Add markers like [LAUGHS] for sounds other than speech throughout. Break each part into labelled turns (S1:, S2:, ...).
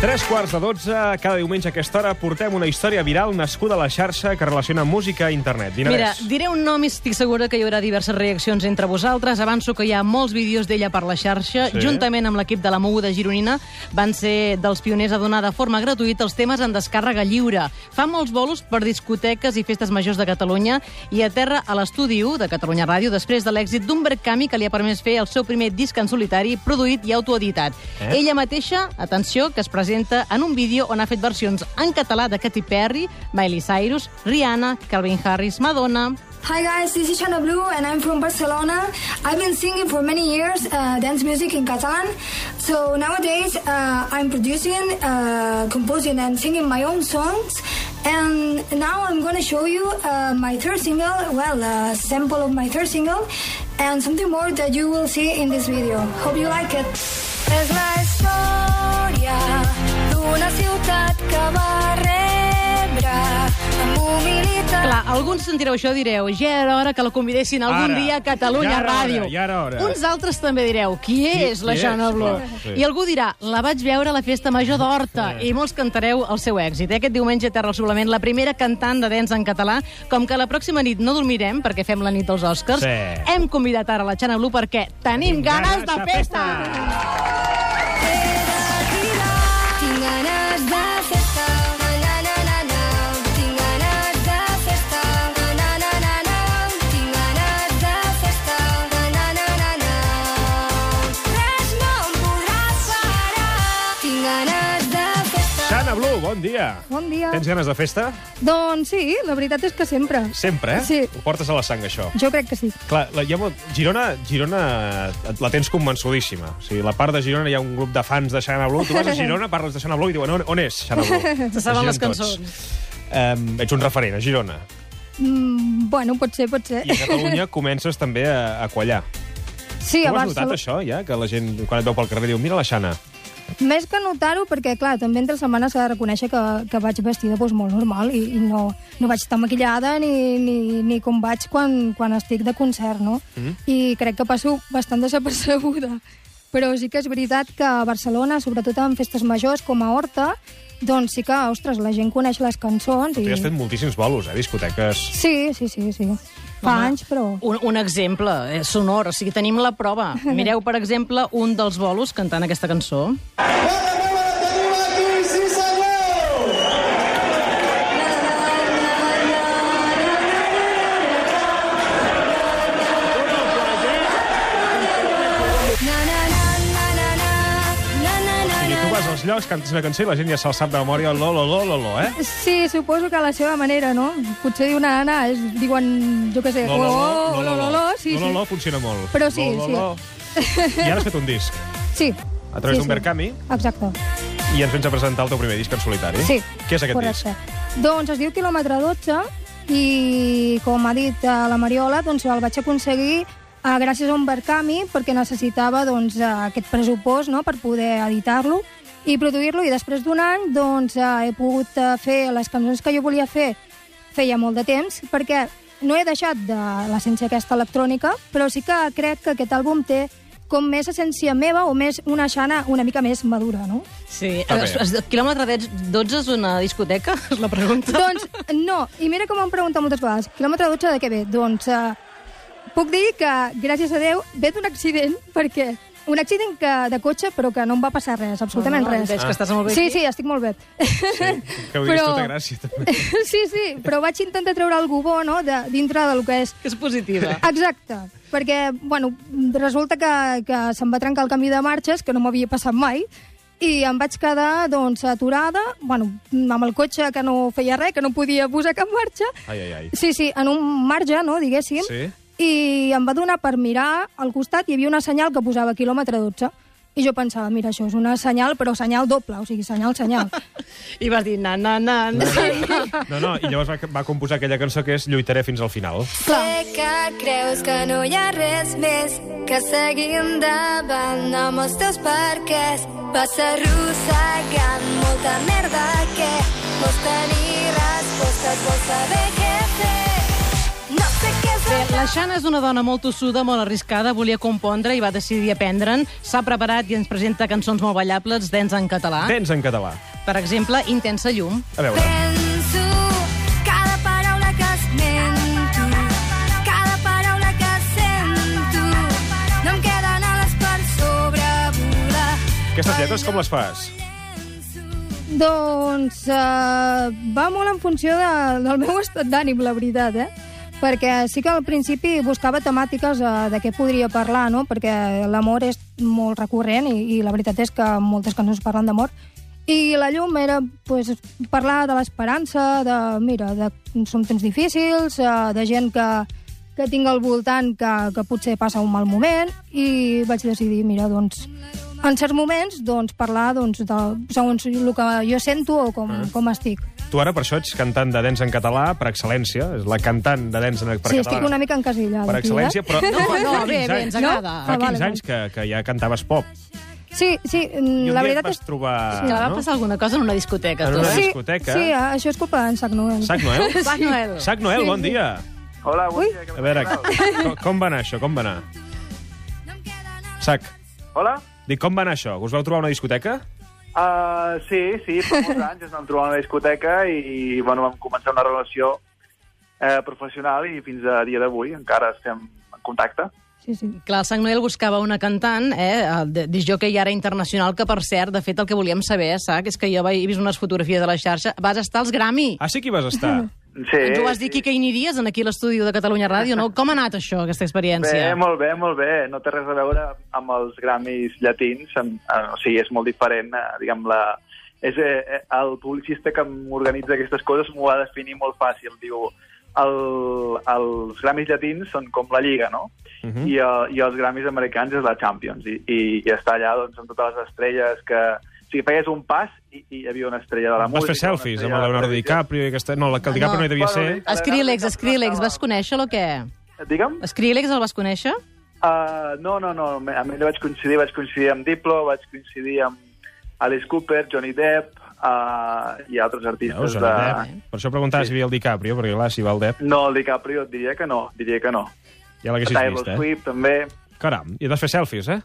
S1: Tres quarts de dotze, cada diumenge a aquesta hora portem una història viral nascuda a la xarxa que relaciona música i internet.
S2: Mira,
S1: Dinarès.
S2: diré un nom i estic segura que hi haurà diverses reaccions entre vosaltres. Avanço que hi ha molts vídeos d'ella per la xarxa.
S1: Sí.
S2: Sí. Juntament amb l'equip de la Moguda Gironina van ser dels pioners a donar de forma gratuïta els temes en descàrrega lliure. Fa molts bolos per discoteques i festes majors de Catalunya i aterra a l'estudi 1 de Catalunya Ràdio després de l'èxit d'un Bergami que li ha permès fer el seu primer disc en solitari produït i autoeditat.
S1: Eh?
S2: Eh? Ella mateixa, atenció, que es presenta en un vídeo on ha fet versions en català de Katy Perry, Miley Cyrus, Rihanna, Calvin Harris, Madonna...
S3: Hi guys, this is Shana Blue and I'm from Barcelona. I've been singing for many years uh, dance music in Catalan. So nowadays uh, I'm producing, uh, composing and singing my own songs. And now I'm gonna show you uh, my third single, well, a sample of my third single and something more that you will see in this video. Hope you like it. És la història d'una ciutat que va rebre amb humilitat
S2: Clar, alguns sentireu això i direu ja era hora que la convidessin algun
S1: Ara.
S2: dia a Catalunya
S1: Ja era hora,
S2: Ràdio.
S1: ja era hora.
S2: Uns altres també direu qui és la
S1: qui
S2: Xana
S1: és,
S2: Bló?
S1: clar, sí.
S2: I algú dirà la vaig veure a la festa major d'Horta i molts cantareu el seu èxit. Eh? Aquest diumenge terra al suplement la primera cantant de dents en català. Com que la pròxima nit no dormirem perquè fem la nit dels Oscars,
S1: Sí.
S2: hem convidat ara la Xana Bló perquè tenim ganes de festa!
S3: Tinc ganes de festa, na, na, na, na. Tinc ganes de festa, na, na, na, na. Tinc ganes de festa, na, na, na, na. Res no em podrà parar. Tinc ganes de festa.
S1: Xana Blu, bon dia.
S4: Bon dia.
S1: Tens ganes de festa?
S4: Doncs sí, la veritat és que sempre.
S1: Sempre, eh?
S4: Sí.
S1: Ho portes a la sang, això.
S4: Jo crec que sí.
S1: Clar, la, hi ha molt... Girona, Girona et- la tens convençudíssima. O sigui, la part de Girona hi ha un grup de fans de Xana Blu. Tu
S2: [LAUGHS]
S1: vas a Girona, parles de Xana Blu i diuen on, on és Xana Blu?
S2: Se saben les
S1: Giren tots.
S2: cançons.
S1: Um, ets un referent a Girona.
S4: Mm, bueno, pot ser, pot ser.
S1: I a
S2: [LAUGHS]
S1: Catalunya comences també a, a quallar.
S4: Sí,
S1: Tu
S4: a
S1: ho has
S4: Barça.
S1: notat, això, ja? Que la gent, quan et veu pel carrer, diu, mira la Xana.
S4: Més que notar-ho, perquè, clar, també entre setmanes s'ha de reconèixer que, que vaig vestida doncs, molt normal i, i no, no vaig tan maquillada ni, ni, ni com vaig quan, quan estic de concert, no?
S1: Mhm.
S4: Mm. I crec que passo bastant desapercebuda. Però sí que és veritat que a Barcelona, sobretot en festes majors com a Horta, doncs sí que, ostres, la gent coneix les cançons.
S1: Tu
S4: I...
S1: ja has fet moltíssims bolos, eh? Discoteques...
S4: Sí, sí, sí, sí. Fa
S2: Home,
S4: anys, però...
S2: Un, un exemple eh, sonor, o sigui, tenim la prova. Mireu, per exemple, un dels bolos cantant aquesta cançó.
S3: Na, na, na, na, na, na. Na, na, na,
S1: I
S3: na,
S1: tu vas als llocs, cantes una cançó i la gent ja se'l sap de memòria, lo, lo, lo, lo, lo, eh?
S4: Sí, suposo que a la seva manera, no? Potser diu una nana, és, diuen, jo què sé,
S1: Lo, lo, lo,
S4: "Oh,
S1: lo, lo, lo,
S4: lo", sí,
S1: Lo, lo, lo,
S4: sí.
S1: funciona molt.
S4: Però sí,
S1: lo,
S4: sí.
S1: lo, sí. Lo. I ara has fet un disc,
S4: Sí.
S1: a través
S4: Sí,
S1: d'un
S4: sí.
S1: Berkami,
S4: Exacte.
S1: i ens vens a presentar el teu primer disc en solitari.
S4: Sí.
S1: eh? Què és aquest
S4: correcte. Doncs es diu Kilòmetre 12 i, com ha dit eh, la Mariola, doncs el vaig aconseguir eh, gràcies a un Berkami perquè necessitava doncs, eh, aquest pressupost no?, per poder editar-lo i produir-lo i després d'un any doncs, eh, he pogut eh, fer les cançons que jo volia fer feia molt de temps perquè no he deixat de l'essència aquesta electrònica però sí que crec que aquest àlbum té com més essència meva o més una xana una mica més madura, no?
S2: Sí,
S1: Està bé.
S2: es- es- quilòmetre dets- 12 és una discoteca, [LAUGHS] és la pregunta.
S4: Doncs no, i mira com m'han preguntat moltes vegades, quilòmetre 12 de què ve? Doncs uh, puc dir que, gràcies a Déu, ve d'un accident, perquè un accident que, de cotxe, però que no em va passar res, absolutament
S2: no, no,
S4: res.
S2: Veig que estàs molt bé
S4: Sí,
S2: aquí.
S4: sí, estic molt bé.
S1: disc? Sí. Que ho diguis
S4: Però-
S1: tota gràcia, també.
S4: [LAUGHS] sí, sí, però vaig intentar treure algú bo, no?, de, dintre del que és
S2: Que [LAUGHS] és positiva.
S4: Exacte, perquè, bueno, resulta que, que se'm va trencar el canvi de marxes, que no m'havia passat mai, i em vaig quedar, doncs, aturada, bueno, amb el cotxe que no feia res, que no podia posar cap marxa.
S1: Ai, ai, ai.
S4: Sí, sí, en un marge, no?, diguéssim.
S1: Sí.
S4: I em va donar per mirar al costat, hi havia una senyal que posava quilòmetre 12. I jo pensava, mira, això és una senyal, però senyal doble, o sigui, senyal, senyal.
S1: [LAUGHS]
S2: I vas dir, na, na, na, na.
S1: No, no, i llavors va, va composar aquella cançó que és Lluitaré fins al final.
S3: Sé que creus que no hi ha res més que seguir endavant amb els teus perquès. Vas arrossegant molta merda que vols tenir respostes, vols saber què fer. No sé què és
S2: Bé, la Xana és una dona molt tossuda, molt arriscada, volia compondre i va decidir aprendre'n. S'ha preparat i ens presenta cançons molt ballables, dents en
S4: Ah.
S2: català.
S1: Tens en català.
S2: Per exemple, Intensa llum.
S1: A veure.
S5: Penso cada paraula que esmento, cada paraula que sento, no em queden ales per sobrevolar.
S1: Aquestes lletres com les fas?
S4: Doncs uh, va molt en funció de, del meu estat d'ànim, la veritat, eh? Perquè sí que al principi buscava temàtiques uh, de què podria parlar, no? Perquè l'amor és molt recurrent i, i la veritat és que moltes cançons parlen d'amor. I la llum era pues, parlar de l'esperança, de, mira, de, són temps difícils, uh, de gent que, que tinc al voltant que, que potser passa un mal moment i vaig decidir, mira, doncs, en certs moments, doncs, parlar doncs, de, segons el que jo sento o com, ah. com estic.
S1: Tu ara Mm. per això ets cantant de dents en català, per excel·lència. És la cantant de dents en per
S4: sí,
S1: català.
S4: estic una mica encasillada.
S1: Per
S4: aquí, eh?
S1: excel·lència, però...
S4: [LAUGHS]
S2: No, no,
S1: fa
S2: bé,
S1: 15
S2: bé,
S1: anys-
S2: ens agrada.
S1: Fa
S4: Ah, vale,
S1: 15 anys que, que ja cantaves pop.
S4: Eh? Sí, sí,
S1: I un dia
S4: la
S1: et
S4: veritat
S1: vas
S4: és...
S1: trobar...
S2: Que va
S1: no?
S2: passar alguna cosa en una discoteca,
S1: En
S2: tu,
S1: una
S2: eh?
S4: sí,
S1: discoteca.
S4: Sí, eh, això és culpa d'en Sac Noel.
S1: Sac
S4: [LAUGHS]
S1: Noel?
S2: Sí. Sac Noel.
S1: Sac Noel, bon dia.
S6: Hola, bon
S4: Ui.
S6: dia. que
S1: A veure,
S6: m'has
S1: com, com va anar això? Com va anar? Sac,
S6: trucat. Hola?
S1: dic, com va anar això? Us vau trobar a una discoteca?
S6: Uh, sí, sí, fa molts anys ens vam trobar a una discoteca i, bueno, vam començar una relació eh, professional i fins a dia d'avui encara estem en contacte.
S4: Sí, sí.
S2: Clar, el Sang Noel buscava una cantant, eh, jo que hi ara internacional, que per cert, de fet, el que volíem saber, Sac, és que jo vaig- he vist unes fotografies de la xarxa, vas estar als Grammy.
S1: Ah, sí que hi vas estar?
S6: Sí,
S2: tu vas dir,
S6: sí.
S2: Quique, que hi aniries en aquí a l'estudi de Catalunya Ràdio, no? Com ha anat això, aquesta
S6: Bé,
S2: experiència?
S6: molt bé, molt bé. No té res a veure amb els Grammys llatins. Amb, eh, o sigui, és molt diferent, eh, diguem, la... És, eh, eh, el publicista que m'organitza aquestes coses m'ho va definir molt fàcil. Diu, el, els Grammys llatins són com la Lliga, no? Uh
S1: Mhm.
S6: -huh. I, el, I els Grammys americans és la Champions. I, i, i està allà, doncs, amb totes les estrelles que... O sigui, feies un pas i, i hi havia una estrella de la
S1: Vas
S6: música...
S1: fer
S6: una
S1: selfies amb el
S6: estrella de la
S1: Leonardo
S6: televisió.
S1: DiCaprio i aquesta... No, el DiCaprio no hi devia
S6: Bueno,
S1: ser.
S6: sí.
S2: Skrillex, Skrillex, vas conèixer-lo o què?
S6: Digue'm?
S2: Skrillex el vas conèixer?
S6: Uh, no, no, no. Amb ella vaig coincidir, vaig coincidir amb Diplo, vaig coincidir amb Alice Cooper, Johnny Depp uh, i altres
S1: Veus,
S6: artistes
S1: el
S6: de...
S1: Depp. Per això preguntava si hi havia el DiCaprio, perquè clar, si va el Depp,
S6: No, el DiCaprio et diria que no, diria que no.
S1: ja l'haguessis
S6: Taylor
S1: vist, eh?
S6: Swift, també.
S1: Caram, i vas fer selfies, eh?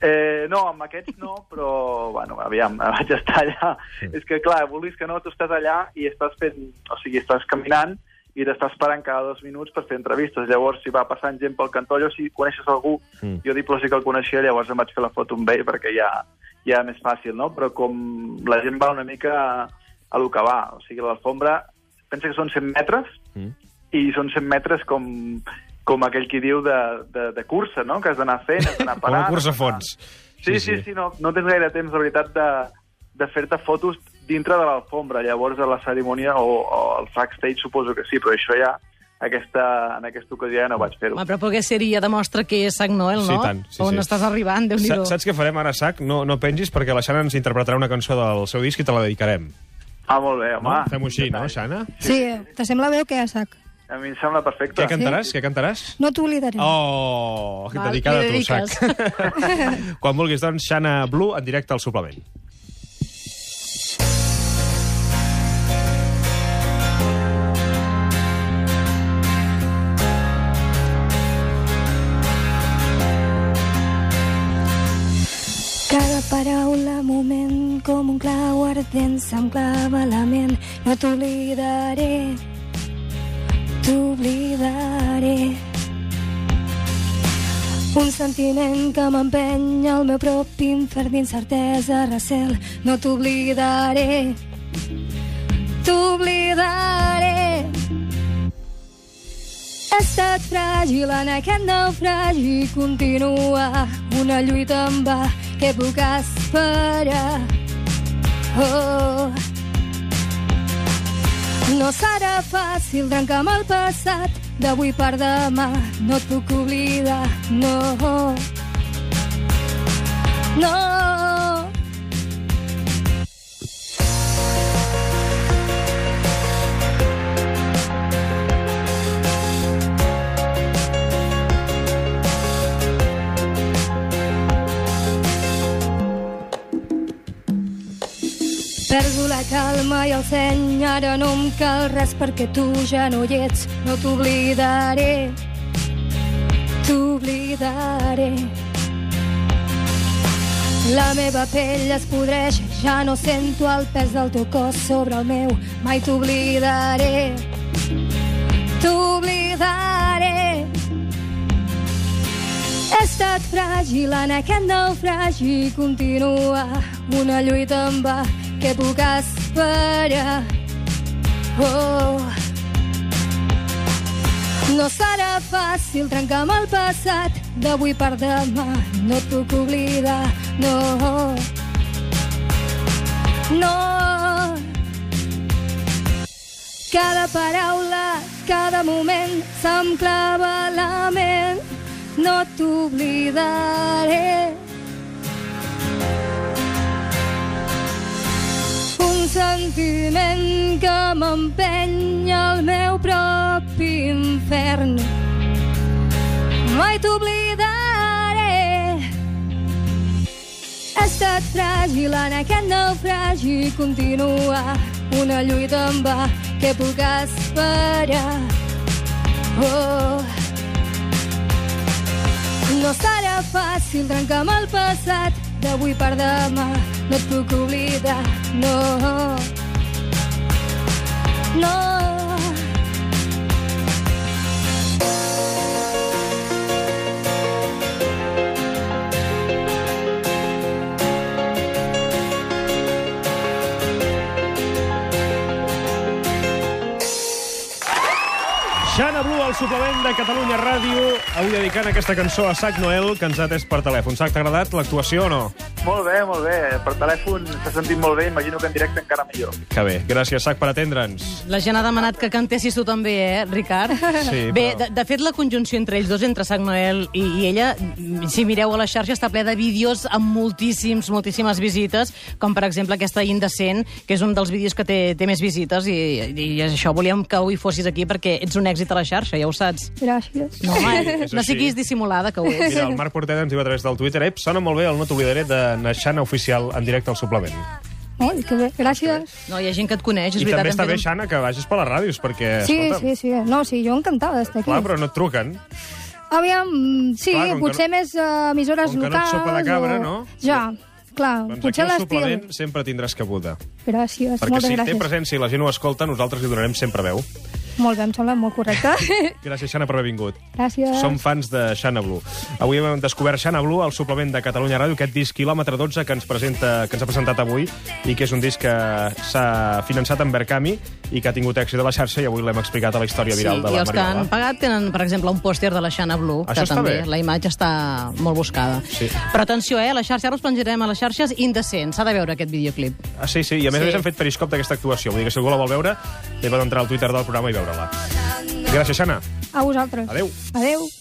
S6: Eh, no, amb aquests no, però, bueno, aviam, [LAUGHS] vaig estar allà. És que, clar, vulguis que no, tu estàs allà i estàs fent... O sigui, estàs caminant i t'estàs parant cada dos minuts per fer entrevistes. Llavors, si va passant gent pel cantó, jo si coneixes algú,
S1: Mm.
S6: mm. jo Diplo sí que el coneixia, llavors em vaig fer la foto amb ell perquè ja, ja més fàcil, no? Però com la gent va una mica a lo que va. O sigui, l'alfombra, pensa que són 100 metres,
S1: Mm.
S6: i són 100 metres com, com aquell qui diu de, de, de cursa, no? Que has d'anar fent, has d'anar
S1: Com
S6: parant.
S1: a curs a
S6: has d'anar-
S1: fons.
S6: Sí, sí, sí, sí no, no tens gaire temps, la veritat, de, de fer-te fotos dintre de l'alfombra. Llavors, a la cerimònia o, o al backstage suposo que sí, però això ja, aquesta, en aquesta ocasió ja no vaig fer-ho.
S2: Home, però perquè seria demostra que és Sang Noel,
S1: Sí,
S2: no?
S1: tant, sí,
S2: On
S1: sí.
S2: estàs arribant, déu nhi
S1: Sa- Saps què farem ara, Sac? No, no pengis, perquè la Xana ens interpretarà una cançó del seu disc i te la dedicarem.
S6: Ah, molt bé,
S1: No?
S6: home.
S1: Fem-ho així, no, Xana?
S4: Sí, te sembla bé o què, Sac?
S6: A mi em sembla perfecte.
S1: Què cantaràs? Què cantaràs?
S4: No t'oblidaré.
S1: Oh,
S2: Val,
S1: dedicada a
S2: li
S1: tu, Sac. [LAUGHS] Quan vulguis, doncs, Xana Blue en directe al suplement.
S3: Cada paraula, moment, com un clau ardent, se'm clava a la ment. No t'oblidaré, t'oblidaré. Un sentiment que m'empeny al meu propi infern d'incertesa, recel. No t'oblidaré, t'oblidaré. He estat fràgil en aquest naufragi i continua una lluita en va. Què puc esperar? Oh. No serà fàcil trencar amb el passat d'avui per demà. No et puc oblidar, no. No.
S4: Perdo la calma i el seny, ara no em cal res perquè tu ja no hi ets. No t'oblidaré, t'oblidaré. La meva pell es podreix, ja no sento el pes del teu cos sobre el meu. Mai t'oblidaré, t'oblidaré. He estat fràgil en aquest naufragi i continua una lluita en va. Què puc esperar? Oh. No serà fàcil trencar amb el passat d'avui per demà. No et puc oblidar, no. No. Cada paraula, cada moment se'm clava a la ment. No t'oblidaré. Un sentiment que m'empeny al meu propi infern. Mai t'oblidaré. He estat fràgil en aquest naufragi i continua una lluita en va. Què puc esperar? Oh. No serà fàcil trencar amb el passat d'avui per demà. No et puc oblidar, no. No.
S1: Xana Blu, al suplement de Catalunya Ràdio, avui dedicant aquesta cançó a Sac Noel, que ens ha atès per telèfon. Sac, t'ha agradat l'actuació o no?
S6: Molt bé, molt bé. Per telèfon s'ha sentit molt bé, imagino que en directe encara millor.
S1: Que bé. Gràcies, Sac, per atendre'ns.
S2: La gent ha demanat que cantessis tu també, eh, Ricard?
S1: Sí,
S2: Bé,
S1: però-
S2: de, de fet, la conjunció entre ells dos, entre Sant Noel i, i ella, mm, si mireu a la xarxa, està ple de vídeos amb moltíssims, moltíssimes visites, com per exemple aquesta Indecent, que és un dels vídeos que té, té més visites, i, i això volíem que avui fossis aquí perquè ets un èxit a la xarxa, ja ho saps.
S4: Gràcies.
S2: No, home,
S1: és
S2: no
S1: així.
S2: siguis dissimulada, que ho ets.
S1: Mira, el Marc Portet ens diu a través del Twitter Ep, sona molt bé el No t'oblidaré de na Xana Oficial en directe al suplement.
S4: Ui, que bé. Gràcies.
S2: No, hi ha gent que et coneix, és
S1: I
S2: veritat.
S1: també està
S2: hem fet
S1: bé,
S2: un-
S1: Xana, que vagis per les ràdios, perquè,
S4: Sí,
S1: escolta'm,
S4: sí, sí. No, sí, jo encantada d'estar aquí.
S1: clar, però no et truquen.
S4: Aviam, sí,
S1: Clar, com que
S4: potser
S1: no-
S4: més uh, emissores
S1: com que no et
S4: locals...
S1: sopa de cabra, no?
S4: Ja, clar,
S1: Doncs aquí
S4: potser
S1: al
S4: l'estil.
S1: suplement sempre tindràs cabuda.
S4: Gràcies,
S1: Perquè
S4: moltes
S1: si té
S4: gràcies.
S1: presència i la gent ho escolta, nosaltres li donarem sempre veu.
S4: Molt bé, em sembla molt correcte. [LAUGHS]
S1: Gràcies, Xana, per haver vingut.
S4: gràcies.
S1: Som fans de Xana Blue. Avui hem descobert Xana Blue al suplement de Catalunya Ràdio, aquest disc Kilòmetre 12 que ens, presenta, que ens ha presentat avui i que és un disc que s'ha finançat amb Verkami i que ha tingut èxit a la xarxa i avui l'hem explicat a la història viral de
S2: i
S1: la
S2: els que
S1: Mariola.
S2: han pagat tenen, per exemple, un pòster de la Xana Blue,
S1: Això
S2: que
S1: està
S2: també
S1: bé.
S2: la imatge està molt buscada.
S1: Sí.
S2: Però atenció, eh, a la xarxa, ara us penjarem a les xarxes indecent. S'ha de veure aquest videoclip.
S1: Ah, sí, sí, i a més a
S2: Sí.
S1: més hem fet periscop d'aquesta actuació. Vull dir que si algú la vol veure, té pot entrar al Twitter del programa i veure-la. Gràcies, Xana.
S4: A vosaltres.
S1: Adéu.
S4: Adeu.